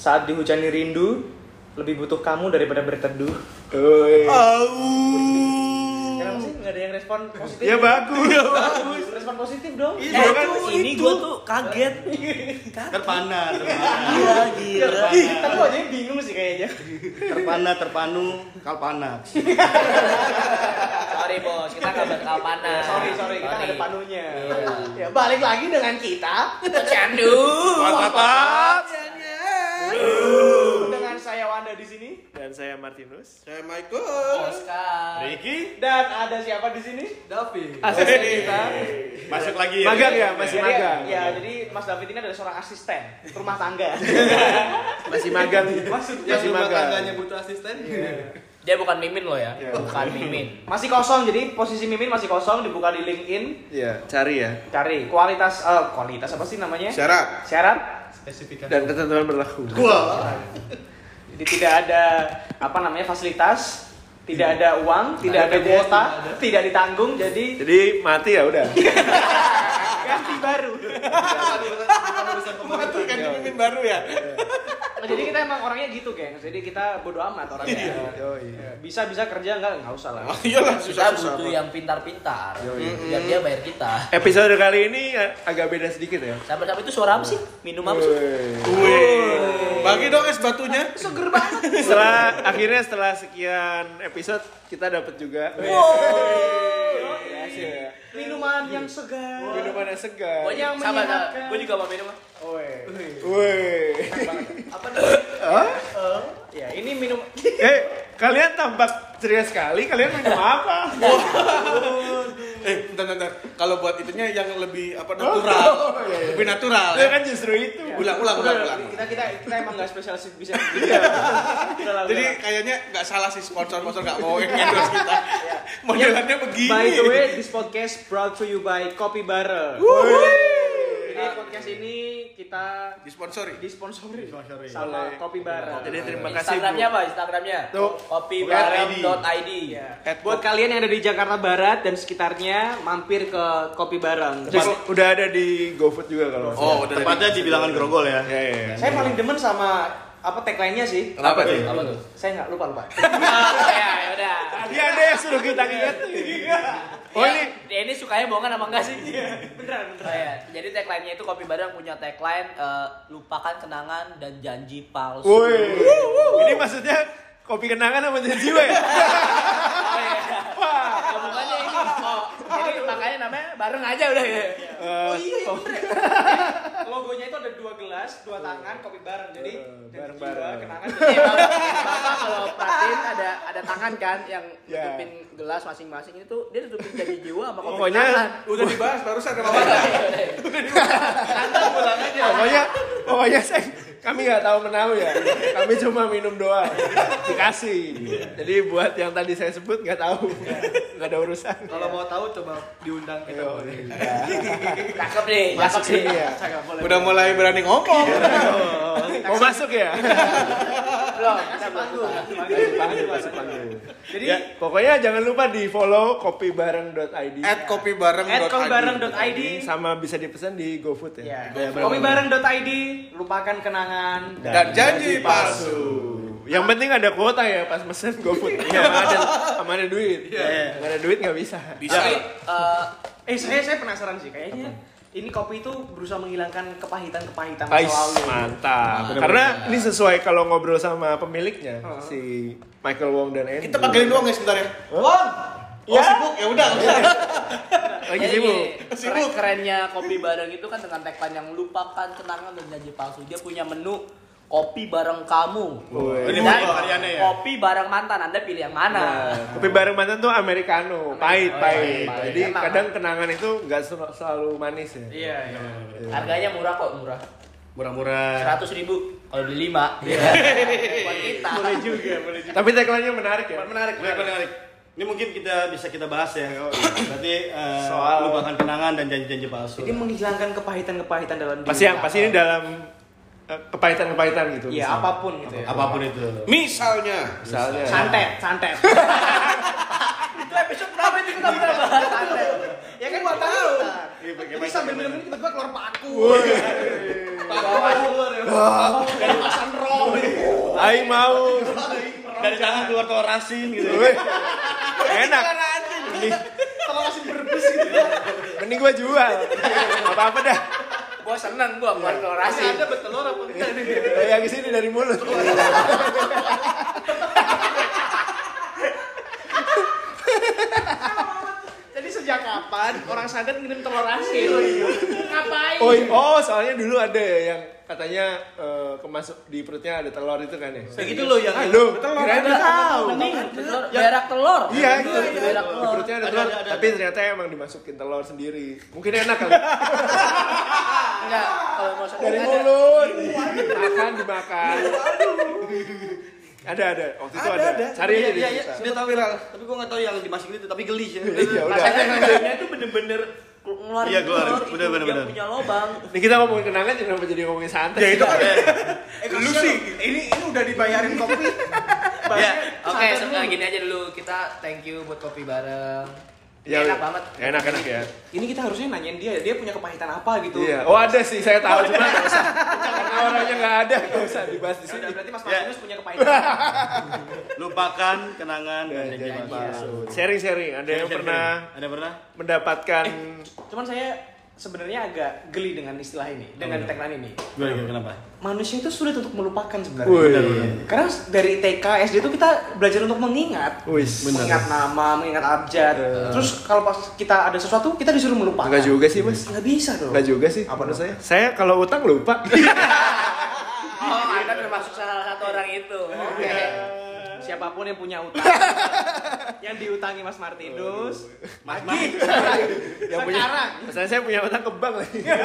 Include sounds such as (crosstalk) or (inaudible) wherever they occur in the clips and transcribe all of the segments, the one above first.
Saat dihujani rindu, lebih butuh kamu daripada berteduh. Kenapa sih nggak ada yang respon positif? Ya bagus. Ya bagus. Respon positif dong. Iya, Nah, Eh, kan itu, ini gue tuh kaget. gitu. Kaget. Terpana, terpana. Gila, gila. Ih, tapi wajahnya bingung sih kayaknya. Terpana, terpanu, kalpana. Sorry bos, kita (laughs) nggak bakal panas. Sorry, sorry, kita nggak ada panunya. Ya, balik lagi dengan kita. Candu. Patat. dengan saya Wanda di sini. Dan saya Martinus. Saya Michael. Oscar. Ricky, Dan ada siapa di sini? David. Asisten kita. masuk lagi ya. Magang ya, masih Jadi, magang. ya, jadi Mas David ini adalah seorang asisten rumah tangga. Masih magang. Maksudnya Masih rumah magang. tangganya butuh asisten. Dia bukan mimin lo ya? Iya. Bukan (laughs) mimin. masih kosong, jadi posisi Mimin masih kosong dibuka di LinkedIn. Iya, cari ya. Cari kualitas eh, kualitas apa sih namanya? Syarat. Syarat. Spesifikasi. Dan ketentuan berlaku. Jadi tidak ada apa namanya fasilitas, tidak ada uang, tidak ada kuota, tidak ditanggung, (laughs) jadi Jadi mati ya udah. ganti baru. Itu kan pemimpin baru ya. Iya, Nah, jadi kita emang orangnya gitu, geng. Jadi kita bodo amat Iya, orangnya. Yoi. Bisa bisa kerja nggak? Nggak usah lah. Oh, iya. iyalah Kita susah susah. Iya, butuh yang pintar-pintar. Biar dia bayar kita. Episode kali ini eh, agak beda sedikit ya. Sampai-sampai itu suara apa sih? Minum apa sih? Woi. Wih. Bagi dong es batunya. Seger banget. Setelah akhirnya setelah sekian episode kita dapat juga iya Minuman yang segar. minuman yang segar. Gua Yang sama, menyenangkan. Gue juga mau minum. ah. Woi. Woi. Apa namanya? Ya, ini minum Eh, kalian tampak ceria sekali. Kalian minum apa? Eh, bentar, bentar. Kalau buat itunya yang lebih Oh. apa natural. Lebih natural. ya. Itu iya, kan justru itu. Ulang, ulang, ulang, ulang. kita kita kita emang nggak spesialis (laughs) bisa. Udah lah, udah Jadi Iya. lah. kayaknya nggak salah sih sponsor-sponsor nggak mau endorse kita. Iya. Modelannya begini. By the way, this podcast brought to you by Kopi Barrel. Jadi podcast ini kita Disponsori. disponsori sama Kopi Barrel. Jadi terima kasih. Iya. Instagramnya apa? Instagramnya? Tuh. Kopibareng.id. Ya. At Buat kalian yang ada di Jakarta Barat dan sekitarnya, mampir ke Kopi Bareng. Bu. Terus udah ada di GoFood juga kalau. nggak salah. Oh, udah Iya, Tepatnya di bilangan grogol ya. Ya, ya, ya. Saya paling demen sama apa tagline-nya sih. Kenapa tuh? Apa tuh? Saya nggak lupa (laughs) lupa. ya, ya udah. Tadi ada yang suruh kita ngingetin. Oh Ya, ini dia ini sukanya bohongan apa enggak sih? Beneran Oh, ya. Jadi tagline-nya itu kopi bareng punya tagline eh, lupakan kenangan dan janji palsu. Woi. Ini maksudnya kopi kenangan sama janji jiwa ya? Wah. Ya, bukannya ini. Oh, jadi makanya namanya bareng aja udah ya. Oh iya, iya bener. Logonya itu ada dua gelas, dua tangan, kopi bareng. Jadi Eh, dari bareng-bareng. jiwa, (laughs) kenangan. Eh, Bapak, Bapak kalau perhatiin ada ada tangan kan yang Ya. nutupin gelas masing-masing itu dia nutupin jadi jiwa sama kopi Pokoknya tangan. Udah dibahas barusan kan, sama Bapak. Iya. pokoknya pokoknya saya kami nggak tahu menahu ya. Kami cuma minum doang. Dikasih. Jadi buat yang tadi saya sebut nggak tahu. Nggak ada urusan. Kalau mau tahu coba diundang kita. Yo, iya. Cakep nih, Masuk cakep nih. sini ya. Udah mulai berani ngomong. Mau masuk ya? Belum, kita belum lupa. Jadi Ya. pokoknya jangan lupa di follow kopibareng.id At kopi bareng. At kopibareng.id sama bisa dipesan di GoFood Ya. ya. Kopibareng.id lupakan kenangan. Dan janji palsu. Yang penting ada kuota ya pas mesen GoFood. Iya, sama ada sama ada duit. Iya. Nggak ada duit nggak bisa. Bisa. Tapi eh, Eh saya saya penasaran sih kayaknya ini kopi itu berusaha menghilangkan kepahitan-kepahitan Ais, masa lalu. mantap. Karena ini sesuai kalau ngobrol sama pemiliknya si Michael Wong dan Andy. Kita panggilin doang ya sebentar ya. Wong. Oh sibuk ya udah. Lagi Iya, Jadi sibuk. gini, Iya, keren kerennya kopi bareng itu kan dengan tagline yang melupakan kenangan dan janji palsu. Dia punya menu kopi bareng kamu. Woi. Nah, Dan Ini bukan variannya ya? Kopi bareng mantan, Anda pilih yang mana? Kopi bareng mantan tuh americano, pahit, iya, pahit. pahit. Jadi Emang. kadang kenangan itu nggak sel- selalu manis ya. Iya, iya. Harganya murah kok, murah. Murah-murah. 100 ribu kalau beli (laughs) 5. Iya. Buat kita. Boleh juga, boleh juga. Tapi tagline-nya menarik ya. Menarik, menarik. Ini mungkin kita bisa kita bahas ya. Berarti eh, Soal- lupakan kenangan dan janji-janji palsu. Jadi menghilangkan kepahitan-kepahitan dalam diri. Pasti yang pasti ini dalam eh, kepahitan-kepahitan gitu. Iya, misalnya. apapun gitu ya. Apapun itu. Misalnya. Misalnya. Santet, (laughs) santet. Itu episode berapa itu kita pernah bahas? ya kan gua tahu. Iya, Jadi sambil minum ini tiba-tiba keluar paku. ya. Aing mau. Dari tangan keluar telur asin gitu. Weh. Enak. gitu. Mending gua jual. Apa-apa dah. Gua seneng gua buat Iya. Ini kolorasi. Anda bertelur apa enggak nih? Yang kesini dari mulut. Jadi sejak kapan orang santet ngirim telur asin? Ngapain? iya. Oh, i- oh soalnya dulu ada ya yang katanya eh, kemasuk di perutnya ada telur itu kan ya. Segitu loh yang Aduh, telur kirain ada. udah tahu. Mending telur, berak telur. Iya, itu Berak di telur. perutnya ada Ada, telur, ada, ada, tapi ternyata emang dimasukin telur sendiri. Mungkin enak kali. Enggak, kalau mau seneng Dari ada. mulut. Makan dimakan. Ada ada. Waktu itu ada. Cari aja di Iya, iya, berita. sudah tahu viral. Tapi gua nggak tahu yang dimasukin itu, tapi geli sih. Iya, udah. Rasanya rasanya itu bener-bener ngeluarin Iya, keluarin. telur itu Bener, bener, yang bener. punya lobang. Ini kita ngomongin kenangan kenapa jadi ngomongin santai? Ya itu kan. Iya. Eh, Eh, lu sih ini ini udah dibayarin (laughs) kopi. Ya, Oke, sebentar gini aja dulu. Kita thank you buat kopi bareng. Ini Ya, enak banget. Enak enak ya. Ini kita harusnya nanyain dia, dia punya kepahitan apa gitu. Iya. Oh ada sih, saya tahu cuma nggak usah. Karena orangnya nggak ada, nggak usah dibahas di sini. Udah, berarti Mas Ya. Martinus punya kepahitan. lupakan kenangan dan Ya, janji jangan palsu. palsu. Sharing-sharing, Iya, ada yang pernah Ada yang pernah? mendapatkan Cuman saya sebenarnya agak geli dengan istilah ini, dengan tagline ini. Gimana, gimana, kenapa? Manusia itu sulit untuk melupakan Eh, sebenarnya. Wih. Karena dari TK, SD itu kita belajar untuk mengingat. Wis. Mengingat nama, mengingat abjad. Terus kalau pas kita ada sesuatu, kita disuruh melupakan. Iya. Enggak juga sih, Mas. Nggak bisa dong. Enggak juga sih. Apa menurut dong? saya? Saya kalau utang lupa. Iya, Oh, Anda termasuk salah satu orang itu. Oke. Siapapun yang punya (laughs) utang, yang diutangi Mas Martinus, (laughs) yang punya. Misalnya saya punya utang ke bank lagi. Iya.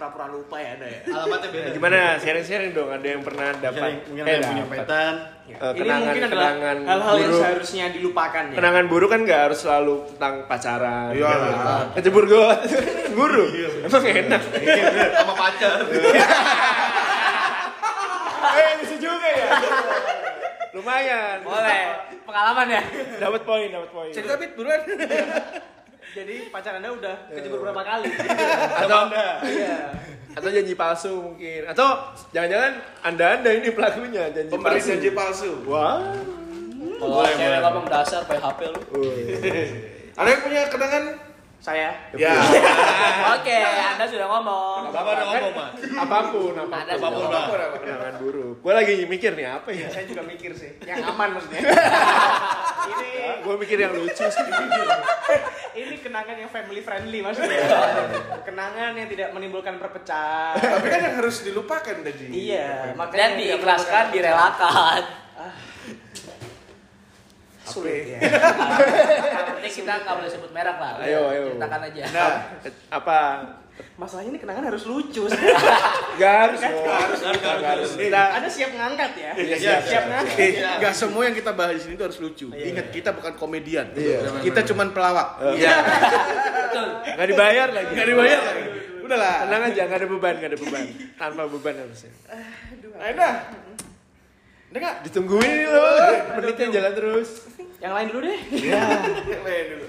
pura-pura lupa ya ada ya. Alamatnya beda. Gimana? Sharing-sharing dong, ada yang pernah dapat Sharing, Mungkin eh, ada yang punya dapat. petan. Eh, Ini kenangan- mungkin adalah kenangan hal-hal yang buruk. seharusnya dilupakan ya. Kenangan buruk kan nggak harus selalu tentang pacaran. Iya. Kecebur gue (laughs) guru. Emang enak. Iya, Sama pacar. (laughs) eh bisa juga ya. Lumayan. Boleh. Eh, Pengalaman ya? Dapat poin, dapat poin. Cerita bit buruan. Jadi pacar Anda udah kejebur berapa kali? Eh. Atau Iya. atau janji palsu mungkin. Atau jangan-jangan anda-anda ini pelakunya janji Pemberi palsu. janji palsu. Wah. Kalau cewek ngomong dasar PHP lu. Wih. (laughs) Ada yang punya kenangan? Saya Ya. Oke, Anda sudah ngomong. Bapak udah ngomong, Mas. Apapun, apapun. Anda sudah ngomong. Jangan buruk. Gue lagi mikir nih apa ya. saya juga mikir sih. Yang aman maksudnya. ini Gue mikir yang lucu sih. (laughs) ini kenangan yang family friendly maksudnya. kenangan yang tidak menimbulkan perpecahan. Tapi kan yang harus dilupakan tadi. iya, makanya Dan diikhlaskan, gitu. direlakan. sulit ya. Nanti kita nggak boleh sebut merek lah. Ayo, ayo. Ceritakan aja. Nah, apa? Masalahnya ini kenangan harus lucu. sih. Gak harus dong. Gak harus. Kita Anda siap ngangkat ya? Iya, siap, siap, ngangkat. Eh, nggak semua yang kita bahas di sini itu harus lucu. Iya, Ingat kita bukan komedian. Kita cuman pelawak. Iya. Betul. nggak Oh. dibayar lagi. Gak dibayar lagi. Udahlah. Tenang aja, gak ada beban, gak ada beban. Tanpa beban harusnya. Eh, Ayo dah. Dengar. Ditungguin nih lo, Oh, menitnya jalan terus. Yang lain dulu deh. Iya.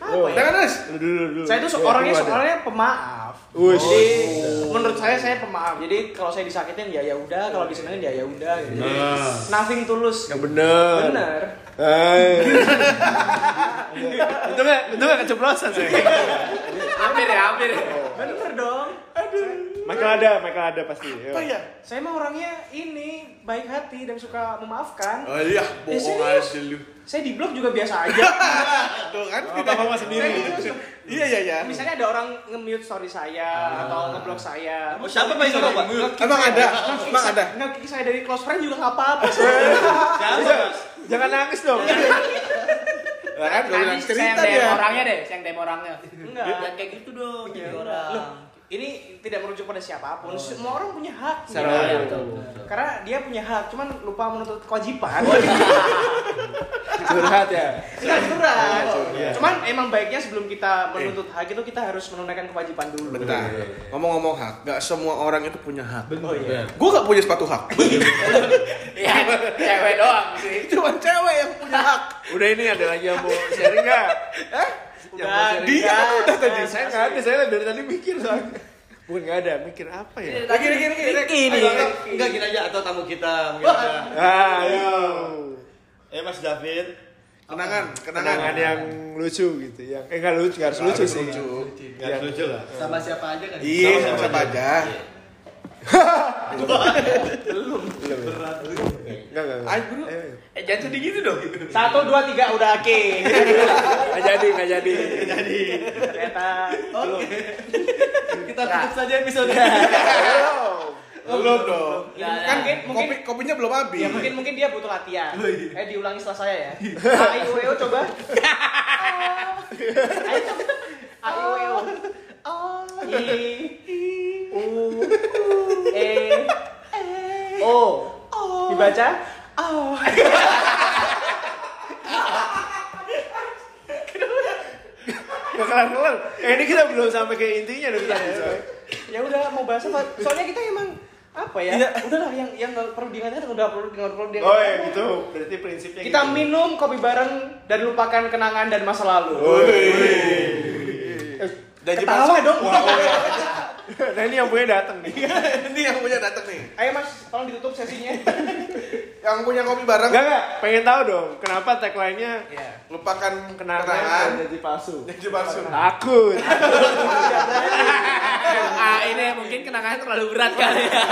Lo, Dengar terus. Lu dulu, dulu. ya? Saya itu Yo, orangnya lu ada. soalnya pemaaf. Wush. Jadi menurut saya saya pemaaf. Jadi kalau saya disakitin ya ya udah, kalau disenengin ya ya udah gitu. Nah. Nothing tulus. Yang bener. Bener. Hai. itu gak, itu gak keceplosan sih. Hampir ya, hampir. Bener dong. Michael ada, Michael ada pasti. Yo. ya? Saya mah orangnya ini baik hati dan suka memaafkan. Oh iya, Eh, bohong serius? aja lu. Saya di blog juga biasa (laughs) aja. Tuh kan Apa apa sendiri. Iya iya iya. Misalnya ada orang nge-mute story saya Ah. atau nge-blog saya. Oh, siapa Pak Isono, Pak? Emang ada? Emang ada? Nge-kick saya dari close friend juga nggak apa-apa. (laughs) Siapa? Jangan nangis dong. Iya. Lah kan gua bilang Nanti saya yang cerita DM dia. orangnya deh, saya yang DM orangnya. Enggak. Jangan kayak gitu dong, jadi Loh, orang. ini tidak merujuk pada Oh, iya. siapapun. Semua orang punya hak. Secara Gitu. umum. Karena dia punya hak, cuman lupa menuntut kewajiban. Oh, iya. (laughs) Curhat ya. Enggak Iya, curhat. Cuman emang baiknya sebelum kita menuntut hak itu kita harus menunaikan kewajiban dulu. Bentar. Iya, Ngomong-ngomong hak, gak semua orang itu punya hak. Oh iya. Gue gak punya sepatu hak. Iya, cewek doang sih. Cuman cewek yang punya hak. Udah ini ada lagi yang mau sharing gak? Udah, Dia kan udah tadi. udah, Saya nggak ada, saya dari tadi mikir soalnya. bukan nggak ada mikir apa ya Iya. Lagi, lagi, lagi. Ricky nih. Ayo, ayo. Enggak gini aja atau tamu kita. mungkin ada. ah itu Eh Mas David, Kenangan, kenangan. kenangan yang lucu gitu yang eh nggak lucu nggak harus lucu sih nggak Iya. lucu lah. Sama siapa aja kan? Iya, Sama-sama siapa aja. Iya. nggak nggak nggak. Ayo, bro. Eh, Eh jangan sedih gitu dong. Satu, dua, tiga, udah oke. nggak jadi nggak jadi Ternyata Nah. Kita tutup saja episode. Belum dong. Ya, kan mungkin, mungkin Kopi kopinya belum habis. ya mungkin mungkin dia butuh latihan. Eh diulangi setelah saya ya. A I U E O (laughs) coba. Ayo coba. A I U E O. Ah. I U E O. Dibaca? nggak kelar kelar eh, ini kita belum sampai ke intinya dari tadi coy. Ya udah mau bahas apa? Soalnya kita emang apa ya? Udahlah yang yang nggak perlu diingatkan udah perlu nggak perlu diingatkan. Iya. oh ya gitu berarti prinsipnya Kita gitu. minum kopi bareng dan lupakan kenangan dan masa lalu. Eh, Dan Ketawa dong. nah ini yang punya datang nih Ini yang punya datang nih. Ayo Mas, tolong ditutup sesinya. Iya. Yang punya kopi bareng Enggak enggak, pengen tahu dong kenapa tagline-nya Iya. lupakan kenangan, kenangan. jadi (laughs) palsu. Jadi palsu. Takut. ah ini mungkin kenangannya terlalu berat kali ya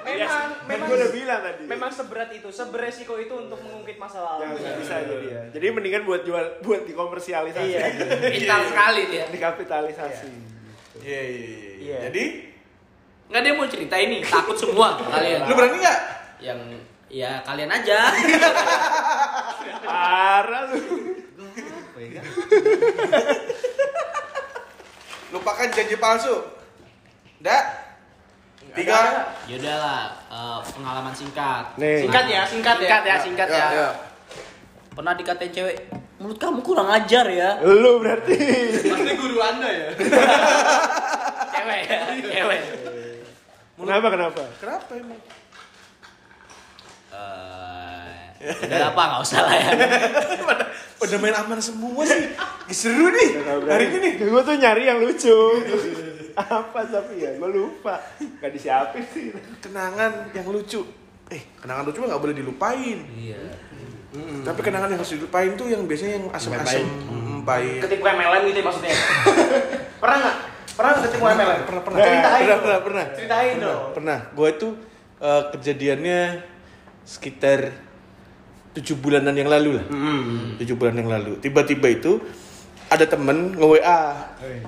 Memang, memang, gue Iya. udah bilang tadi. memang seberat itu, seberesiko itu untuk mengungkit masa Ya, lalu. nggak bisa jadi ya. Jadi mendingan buat jual buat dikomersialisasi. Iya. pintar sekali dia (laughs) Dikapitalisasi. Iya, iya, Iya. iya. Jadi, nggak dia mau cerita ini takut semua kalian lu berani nggak? yang ya kalian aja Parah lu. Lupakan janji palsu. Ndak? Tiga. ya udahlah eh, pengalaman singkat Nih. Singkat ya, singkat ya. singkat ya singkat ya, Ya, ya. pernah dikatain cewek mulut kamu kurang ajar ya Lu berarti. Pasti guru Anda ya. (laughs) cewek ya cewek Kenapa kenapa? Kenapa emang? Eh, udah apa nggak usah lah ya Udah main aman semua sih. Ih, Seru nih. Hari ini nih. Gue tuh nyari yang lucu. Apa tapi ya? Gue lupa. Gak disiapin sih. Kenangan yang lucu. Eh, kenangan lucu mah nggak boleh dilupain. iya Hmm. Tapi kenangan yang harus dilupain tuh yang biasanya yang asem-asem. Hmm, Baik. Ketik MLM gitu ya maksudnya. pernah nggak? Pernah nggak ketik MLM? Pernah, pernah. Ceritain Pernah, dong. pernah, pernah. Ceritain dong. Pernah. Gue itu eh, kejadiannya sekitar tujuh bulanan yang lalu lah. Mm-hmm. Tujuh bulan yang lalu. Tiba-tiba itu ada temen nge WA.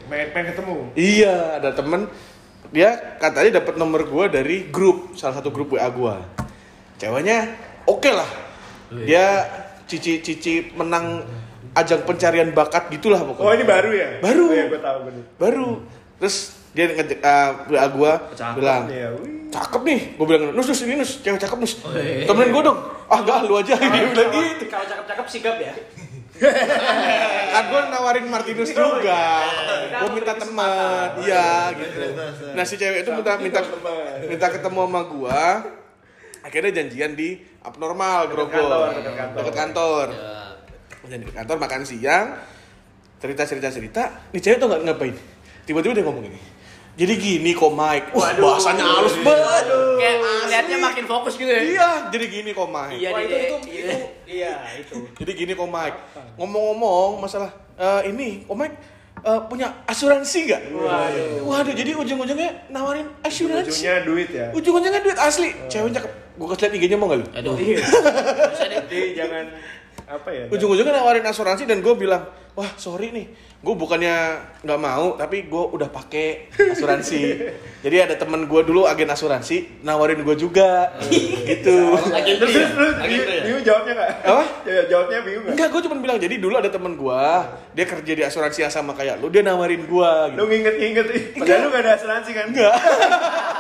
Pengen, pengen ketemu. Iya, ada temen. Dia katanya dapat nomor gue dari grup salah satu grup WA gue. Ceweknya oke lah. Dia cici-cici menang ajang pencarian bakat gitulah pokoknya. Oh ini baru ya? Baru. Oh, ya gue tahu bener. baru terus dia ngejek eh, WA gua bilang Ya, wih. cakep nih gue bilang nus nus ini nus cewek cakep nus temenin gue dong ah enggak lu aja dia bilang gitu Kalau cakep-cakep sigap ya. kan gue nawarin Martinus juga gue minta teman iya gitu nah si cewek itu minta minta minta ketemu sama gua akhirnya janjian di abnormal kantor, Grogol dekat kantor. dekat kantor Iya. Iya. janjian di kantor makan siang cerita cerita cerita nih cewek tuh nggak ngapain tiba-tiba dia ngomong gini jadi gini kok Mike wah bahasanya halus banget kayak liatnya makin fokus gitu ya iya jadi gini kok Mike iya Wah, deh itu itu iya. itu iya itu. Jadi gini kok Mike, ngomong-ngomong masalah eh, ini, kok Mike eh, punya asuransi nggak? Waduh. jadi ujung-ujungnya nawarin asuransi. Ujungnya duit ya. Ujung-ujungnya kan duit asli. Cewek cakep. Gue kasih liat IG-nya mau nggak lu? aduh Jadi jangan apa ya? Ujung-ujungnya nawarin asuransi dan gue bilang, wah sorry nih, gue bukannya nggak mau, tapi gue udah pakai asuransi. jadi ada temen gue dulu agen asuransi, nawarin gue juga, gitu. lagi Terus terus terus, Lagi Biu- itu ya? Biu jawabnya nggak? Apa? Ya, jawabnya bingung nggak? Enggak, gue cuma bilang, jadi dulu ada temen gue, dia kerja di asuransi yang sama kayak lu, dia nawarin gue. Gitu. Lu nginget-nginget ih. Padahal lu gak ada asuransi kan? Enggak.